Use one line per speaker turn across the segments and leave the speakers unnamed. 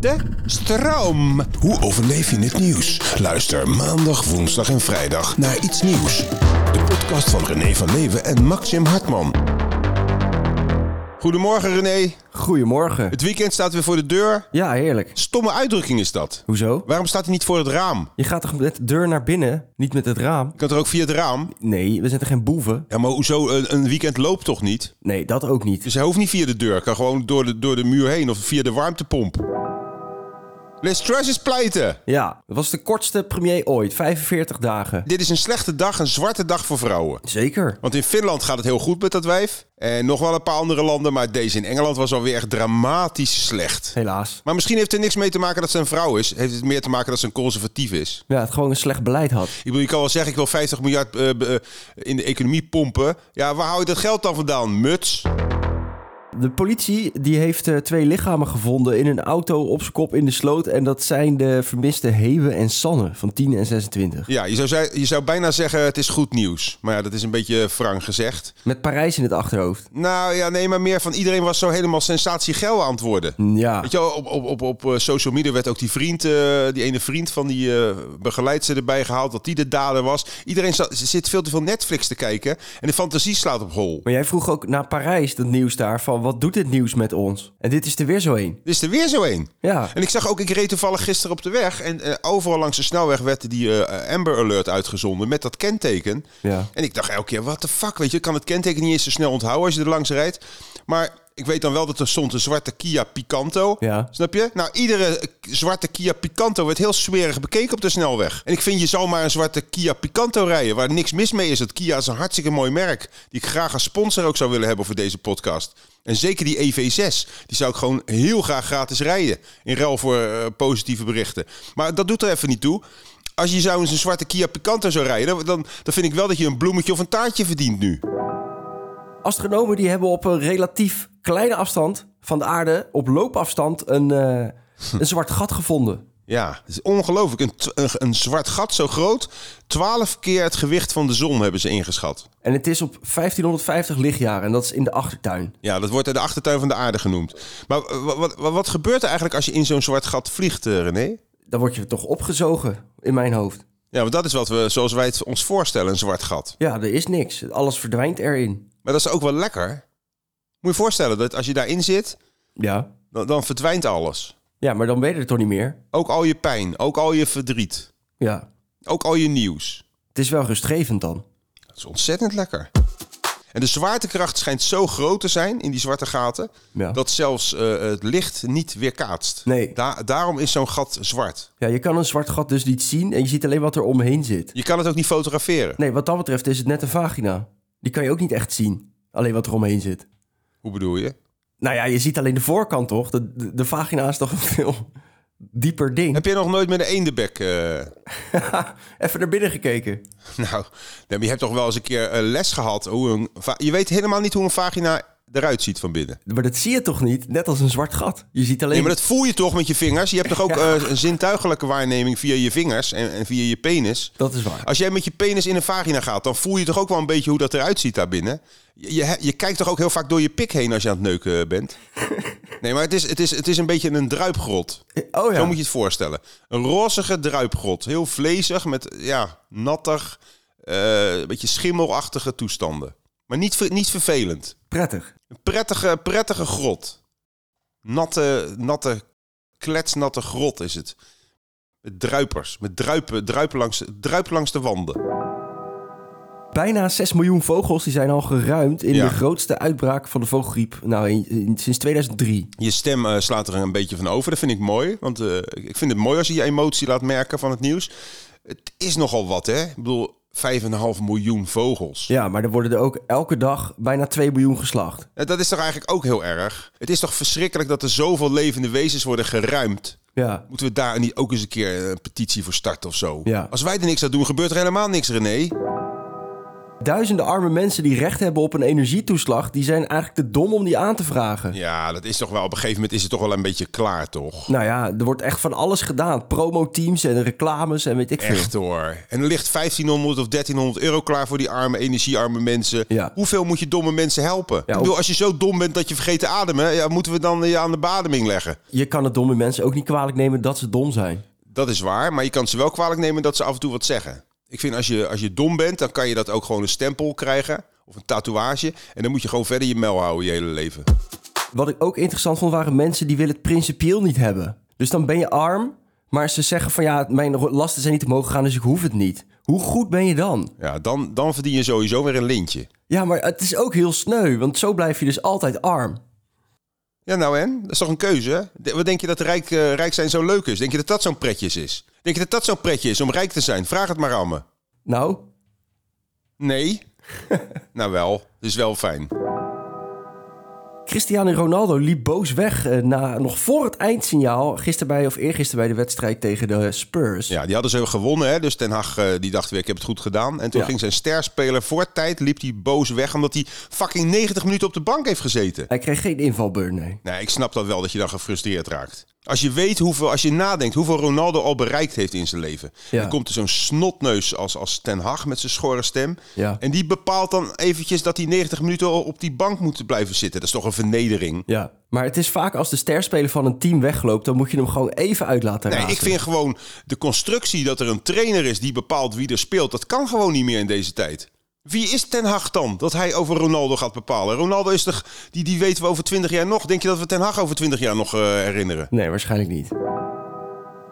De stroom.
Hoe overleef je het nieuws? Luister maandag, woensdag en vrijdag naar Iets Nieuws. De podcast van René van Leeuwen en Maxim Hartman.
Goedemorgen René.
Goedemorgen.
Het weekend staat weer voor de deur.
Ja, heerlijk.
Stomme uitdrukking is dat.
Hoezo?
Waarom staat hij niet voor het raam?
Je gaat toch met de deur naar binnen, niet met het raam?
Je kan er ook via het raam.
Nee, we zijn toch geen boeven?
Ja, maar hoezo? Een, een weekend loopt toch niet?
Nee, dat ook niet.
Dus hij hoeft niet via de deur. Kan gewoon door de, door de muur heen of via de warmtepomp. Les Truss is pleiten.
Ja, dat was de kortste premier ooit, 45 dagen.
Dit is een slechte dag, een zwarte dag voor vrouwen.
Zeker.
Want in Finland gaat het heel goed met dat wijf. En nog wel een paar andere landen, maar deze in Engeland was alweer echt dramatisch slecht.
Helaas.
Maar misschien heeft er niks mee te maken dat ze een vrouw is. Heeft het meer te maken dat ze een conservatief is.
Ja, het gewoon een slecht beleid had.
Ik bedoel, je kan wel zeggen, ik wil 50 miljard eh, be- eh, in de economie pompen. Ja, waar hou je dat geld dan vandaan, muts?
De politie die heeft eh, twee lichamen gevonden in een auto op zijn kop in de sloot. En dat zijn de vermiste Hewe en Sanne van 10 en 26.
Ja, je zou, zei- je zou bijna zeggen, het is goed nieuws. Maar ja, dat is een beetje frank gezegd.
Met Parijs in het achterhoofd.
Nou ja, nee, maar meer van iedereen was zo helemaal sensatiegeil aan het worden.
Ja,
Weet je wel, op, op, op, op eh, social media werd ook die vriend, eh, die ene vriend van die eh begeleidster erbij gehaald, dat die de dader was. Iedereen zat- zit veel te veel Netflix te kijken en de fantasie slaat op hol.
maar jij vroeg ook naar Parijs, dat nieuws daar, van wat doet dit nieuws met ons? En dit is er weer zo een.
Er is er weer zo een.
Ja.
En ik zag ook, ik reed toevallig gisteren op de weg en eh, overal langs de snelweg werd die eh, Amber Alert uitgezonden met dat kenteken.
Ja.
En ik dacht elke keer, wat de fuck, weet je, ik kan het kenteken niet eens zo snel onthouden als je er langs rijdt. Maar ik weet dan wel dat er stond een zwarte Kia Picanto.
Ja.
Snap je? Nou, iedere eh, zwarte Kia Picanto werd heel smerig bekeken op de snelweg. En ik vind, je zal maar een zwarte Kia Picanto rijden, waar niks mis mee is. Dat Kia is een hartstikke mooi merk, die ik graag als sponsor ook zou willen hebben voor deze podcast. En zeker die EV6, die zou ik gewoon heel graag gratis rijden. In ruil voor eh, positieve berichten. Maar dat doet er even niet toe. Als je zou eens een zwarte Kia Picanto zou rijden, dan, dan vind ik wel dat je een bloemetje of een taartje verdient nu.
Astronomen die hebben op een relatief kleine afstand van de aarde, op loopafstand, een, eh, een zwart gat gevonden.
Ja, het is ongelooflijk. Een, t- een, een zwart gat zo groot. Twaalf keer het gewicht van de zon hebben ze ingeschat.
En het is op 1550 lichtjaren en dat is in de achtertuin.
Ja, dat wordt de achtertuin van de aarde genoemd. Maar w- w- wat, wat, wat gebeurt er eigenlijk als je in zo'n zwart gat vliegt, eh, René?
Dan word je toch opgezogen in mijn hoofd.
Ja, want dat is wat we, zoals wij het ons voorstellen, een zwart gat.
Ja, er is niks. Alles verdwijnt erin.
Maar dat is ook wel lekker. Moet je je voorstellen dat als je daarin zit,
Ja.
dan, dan verdwijnt alles.
Ja, maar dan ben je er toch niet meer?
Ook al je pijn, ook al je verdriet,
Ja.
ook al je nieuws.
Het is wel rustgevend dan.
Dat is ontzettend lekker. En de zwaartekracht schijnt zo groot te zijn in die zwarte gaten...
Ja.
dat zelfs eh, het licht niet weerkaatst.
Nee.
Da- daarom is zo'n gat zwart.
Ja, je kan een zwart gat dus niet zien en je ziet alleen wat er omheen zit.
Je kan het ook niet fotograferen.
Nee, wat dat betreft is het net een vagina. Die kan je ook niet echt zien. Alleen wat er omheen zit.
Hoe bedoel je?
Nou ja, je ziet alleen de voorkant toch? De, de, de vagina is toch een veel dieper ding.
Heb je nog nooit met een eendebek... eh,
Even naar binnen gekeken.
Nou, nee, maar je hebt toch wel eens een keer eh, les gehad. Hoe een va- je weet helemaal niet hoe een vagina eruit ziet van binnen.
Maar dat zie je toch niet? Net als een zwart gat. Je ziet alleen...
Nee, maar dat voel je toch met je vingers? Je hebt toch ook eh, een zintuigelijke waarneming via je vingers en, en via je penis?
dat is waar.
Als jij met je penis in een vagina gaat, dan voel je toch ook wel een beetje hoe dat eruit ziet daar binnen? Je, je, je kijkt toch ook heel vaak door je pik heen als je aan het neuken eh, bent? Nee, maar het is, het is, het is een beetje een druipgrot.
Oh ja.
Zo moet je het voorstellen. Een rozige druipgrot. Heel vlezig met ja, nattig, eh, een beetje schimmelachtige toestanden. Maar niet, ver- niet vervelend.
Prettig.
Een prettige, prettige grot. natte, natte, kletsnatte grot is het. Met druipers, met druipen, druipen langs, druipen langs de wanden.
Bijna 6 miljoen vogels die zijn al geruimd in
Ja.
de grootste uitbraak van de vogelgriep nou, in, in- sinds 2003.
Je stem eh, slaat er een beetje van over, dat vind ik mooi. Want eh, ik vind het mooi als je je emotie laat merken van het nieuws. Het is nogal wat, hè? Ik bedoel, 5,5 miljoen vogels.
Ja, maar er worden er ook elke dag bijna 2 miljoen geslacht.
Eh, Dat is toch eigenlijk ook heel erg? Het is toch verschrikkelijk dat er zoveel levende wezens worden geruimd?
Ja.
Moeten we daar niet ook eens een keer een petitie voor starten of zo?
Ja.
Als wij er niks aan doen, gebeurt er helemaal niks, René.
Duizenden arme mensen die recht hebben op een energietoeslag, die zijn eigenlijk te dom om die aan te vragen.
Ja, dat is toch wel. Op een gegeven moment is het toch wel een beetje klaar, toch?
Nou ja, er wordt echt van alles gedaan. Promoteams en reclames en weet ik veel.
Echt hoor. En er ligt 1500 of 1300 euro klaar voor die arme, energiearme mensen.
Ja.
Hoeveel moet je domme mensen helpen? ik
op-
bedoel, als je zo dom bent dat je vergeet te ademen, ja, moeten we dan je aan de bademing leggen?
Je kan het domme mensen ook niet kwalijk nemen dat ze dom zijn.
Dat is waar, maar je kan ze wel kwalijk nemen dat ze af en toe wat zeggen. Ik vind als je, als je dom bent, dan kan je dat ook gewoon een stempel krijgen. Of een tatoeage. En dan moet je gewoon verder je mel houden je hele leven.
Wat ik ook interessant vond, waren mensen die willen het principieel niet hebben. Dus dan ben je arm, maar ze zeggen van ja, mijn ro- lasten zijn niet omhoog gegaan, dus ik hoef het niet. Hoe goed ben je dan?
Ja, dan, dan verdien je sowieso weer een lintje.
Ja, maar het is ook heel sneu, want zo blijf je dus altijd arm.
Ja, nou en? Dat is toch een keuze? hè? De- Wat denk je dat rijk, eh, rijk zijn zo leuk is? Denk je dat dat zo'n pretjes is? Denk je dat dat zo'n pretje is om rijk te zijn? Vraag het maar aan me.
Nou,
Nee? nou wel, dat is wel fijn.
Cristiano Ronaldo liep boos weg eh, na, nog voor het eindsignaal, gisteren bij of eergisteren bij de wedstrijd tegen de Spurs.
Ja, die hadden ze gewonnen, hè? dus Ten Hag eh, die dacht weer, ik heb het goed gedaan. En toen
Ja.
ging zijn sterspeler voor tijd, liep hij boos weg... omdat hij fucking 90 minuten op de bank heeft gezeten.
Hij kreeg geen invalbeurt, nee.
Nee, ik snap dat wel, dat je dan gefrustreerd raakt. Als je weet hoeveel, als je nadenkt hoeveel Ronaldo al bereikt heeft in zijn leven.
Ja.
Dan komt er zo'n snotneus als, als Ten Hag met zijn schorre stem.
Ja.
En die bepaalt dan eventjes dat hij 90 minuten al op die bank moet blijven zitten. Dat is toch een vernedering?
Ja, maar het is vaak als de sterspeler van een team wegloopt, dan moet je hem gewoon even uit laten
Nee,
razen.
ik vind gewoon de constructie dat er een trainer is die bepaalt wie er speelt. Dat kan gewoon niet meer in deze tijd. Wie is Ten Hag dan dat hij over Ronaldo gaat bepalen? Ronaldo is toch, die, die weten we over 20 jaar nog. Denk je dat we Ten Hag over 20 jaar nog eh, herinneren?
Nee, waarschijnlijk niet.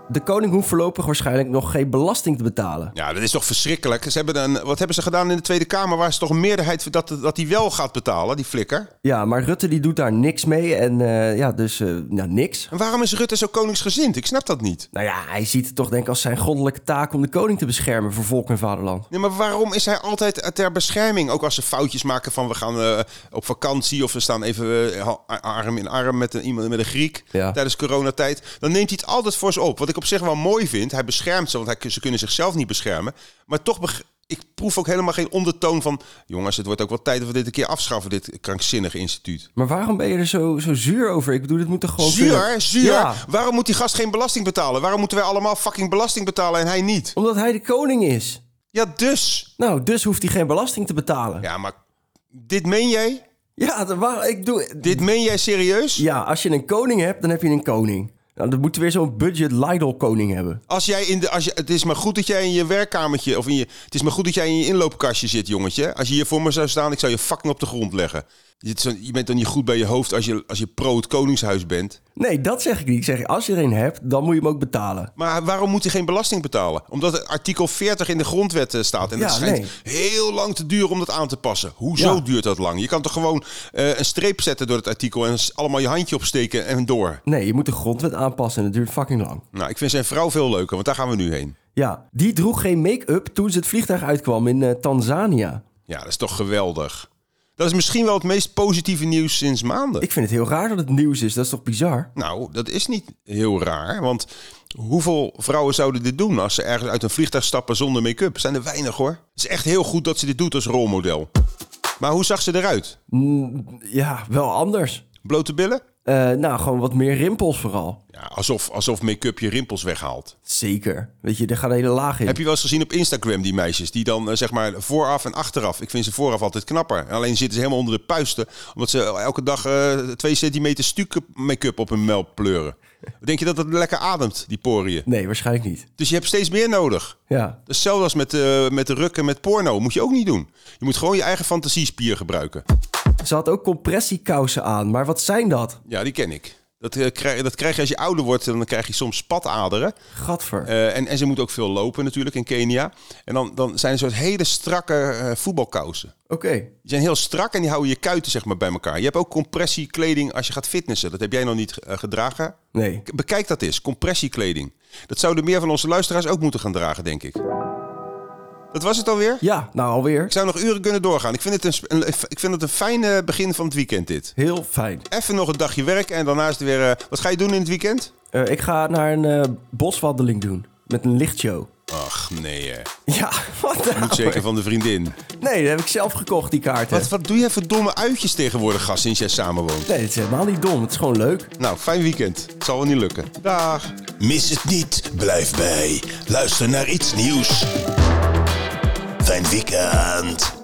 De koning hoeft voorlopig waarschijnlijk nog geen belasting te betalen.
Ja, dat is toch verschrikkelijk. Ze hebben dan, wat hebben ze gedaan in de Tweede Kamer? Waar is toch een meerderheid voor dat, dat die wel gaat betalen, die flikker?
Ja, maar Rutte die doet daar niks mee en eh, ja, dus eh, nou, niks.
En waarom is Rutte zo koningsgezind? Ik snap dat niet.
Nou ja, hij ziet het toch denk ik als zijn goddelijke taak om de koning te beschermen voor volk en vaderland.
Nee, maar waarom is hij altijd ter bescherming? Ook als ze foutjes maken van we gaan eh, op vakantie of we staan even eh, ha- arm in arm met een, iemand met een Griek
Ja.
tijdens coronatijd. Dan neemt hij het altijd voor ze op. Wat ik op zich wel mooi vind. Hij beschermt ze, want hij, ze kunnen zichzelf niet beschermen. Maar toch, beg- ik proef ook helemaal geen ondertoon van jongens, het wordt ook wel tijd dat we dit een keer afschaffen, dit krankzinnige instituut.
Maar waarom ben je er zo, zo zuur over? Ik bedoel, dit moet toch gewoon...
Zuur,
kunnen?
zuur.
Ja,
Waarom moet die gast geen belasting betalen? Waarom moeten wij allemaal fucking belasting betalen en hij niet?
omdat hij de koning is.
Ja, dus.
Nou, dus hoeft hij geen belasting te betalen. Ja,
Ja, maar dit meen jij?
dat waar, ik doe...
Dit meen jij serieus?
Ja, als je een koning hebt, dan heb je een koning. Nou, dan moeten we weer zo'n budget Lidl koning hebben.
Als jij in de, als je, het is maar goed dat jij in je werkkamertje of in je, het is maar goed dat jij in je inloopkastje zit, jongetje. Als je hier voor me zou staan, ik zou je fucking op de grond leggen. Je, zit zo- je bent dan niet goed bij je hoofd als je, als je pro het koningshuis bent.
Nee, dat zeg ik niet. Ik zeg, als je er een hebt, dan moet je hem ook betalen.
Maar waarom moet hij geen belasting betalen? Omdat het artikel 40 in de grondwet eh, staat. En
Ja,
dat schijnt heel lang te duren om dat aan te passen. Hoezo
Ja.
duurt dat lang? Je kan toch gewoon eh, een streep zetten door het artikel... en s- allemaal je handje opsteken en door.
Nee, je moet de grondwet aanpassen en dat duurt fucking lang.
Nou, ik vind zijn vrouw veel leuker, want daar gaan we nu heen.
Ja, die droeg geen make-up toen ze het vliegtuig uitkwam in eh, Tanzania.
Ja, dat is toch geweldig. Dat is misschien wel het meest positieve nieuws sinds maanden.
Ik vind het heel raar dat het nieuws is. Dat is toch bizar?
Nou, dat is niet heel raar, want hoeveel vrouwen zouden dit doen... als ze ergens uit een vliegtuig stappen zonder make-up? Zijn er weinig, hoor. Het is echt heel goed dat ze dit doet als rolmodel. Maar hoe zag ze eruit?
Ja, wel anders.
Blote billen?
Eh, nou, gewoon wat meer rimpels vooral.
Ja, alsof, alsof make-up je rimpels weghaalt.
Zeker. Weet je, er gaat een hele laag in.
Heb je wel eens gezien op Instagram die meisjes? Die dan eh, zeg maar vooraf en achteraf. Ik vind ze vooraf altijd knapper. Alleen zitten ze helemaal onder de puisten. Omdat ze elke dag eh, twee centimeter stuk make-up op hun melk pleuren. Denk je dat dat lekker ademt, die poriën?
Nee, waarschijnlijk niet.
Dus je hebt steeds meer nodig.
Ja.
Dat is Hetzelfde als met, eh met de rukken met porno. Moet je ook niet doen. Je moet gewoon je eigen fantasiespier gebruiken.
Ze had ook compressiekousen aan. Maar wat zijn dat?
Ja, die ken ik. Dat, eh, krijg, dat krijg je als je ouder wordt, dan krijg je soms spataderen.
Gadver.
Eh, en, en ze moet ook veel lopen natuurlijk in Kenia. En dan, dan zijn er soort hele strakke eh, voetbalkousen.
Oké.
Die zijn heel strak en die houden je kuiten zeg maar, bij elkaar. Je hebt ook compressiekleding als je gaat fitnessen. Dat heb jij nog niet eh, gedragen.
Nee.
K- Bekijk dat eens, compressiekleding. Dat zouden meer van onze luisteraars ook moeten gaan dragen, denk ik. Dat was het alweer?
Ja, nou alweer.
Ik zou nog uren kunnen doorgaan. Ik vind het een, sp- een- ik vind het een fijn eh, begin van het weekend dit.
Heel fijn.
Even nog een dagje werk en daarnaast weer... eh, wat ga je doen in het weekend?
Eh, ik ga naar een eh, boswandeling doen. Met een lichtshow.
Ach, nee hè.
Ja, wat nou?
Moet zeker van de vriendin.
Nee, dat heb ik zelf gekocht, die kaarten.
Wat, wat doe jij voor domme uitjes tegenwoordig, gast, sinds jij samenwoont?
Nee, het is helemaal niet dom. Het is gewoon leuk.
Nou, fijn weekend. Het zal wel niet lukken. Dag.
Mis het niet, blijf bij. Luister naar iets nieuws. Fijn weekend.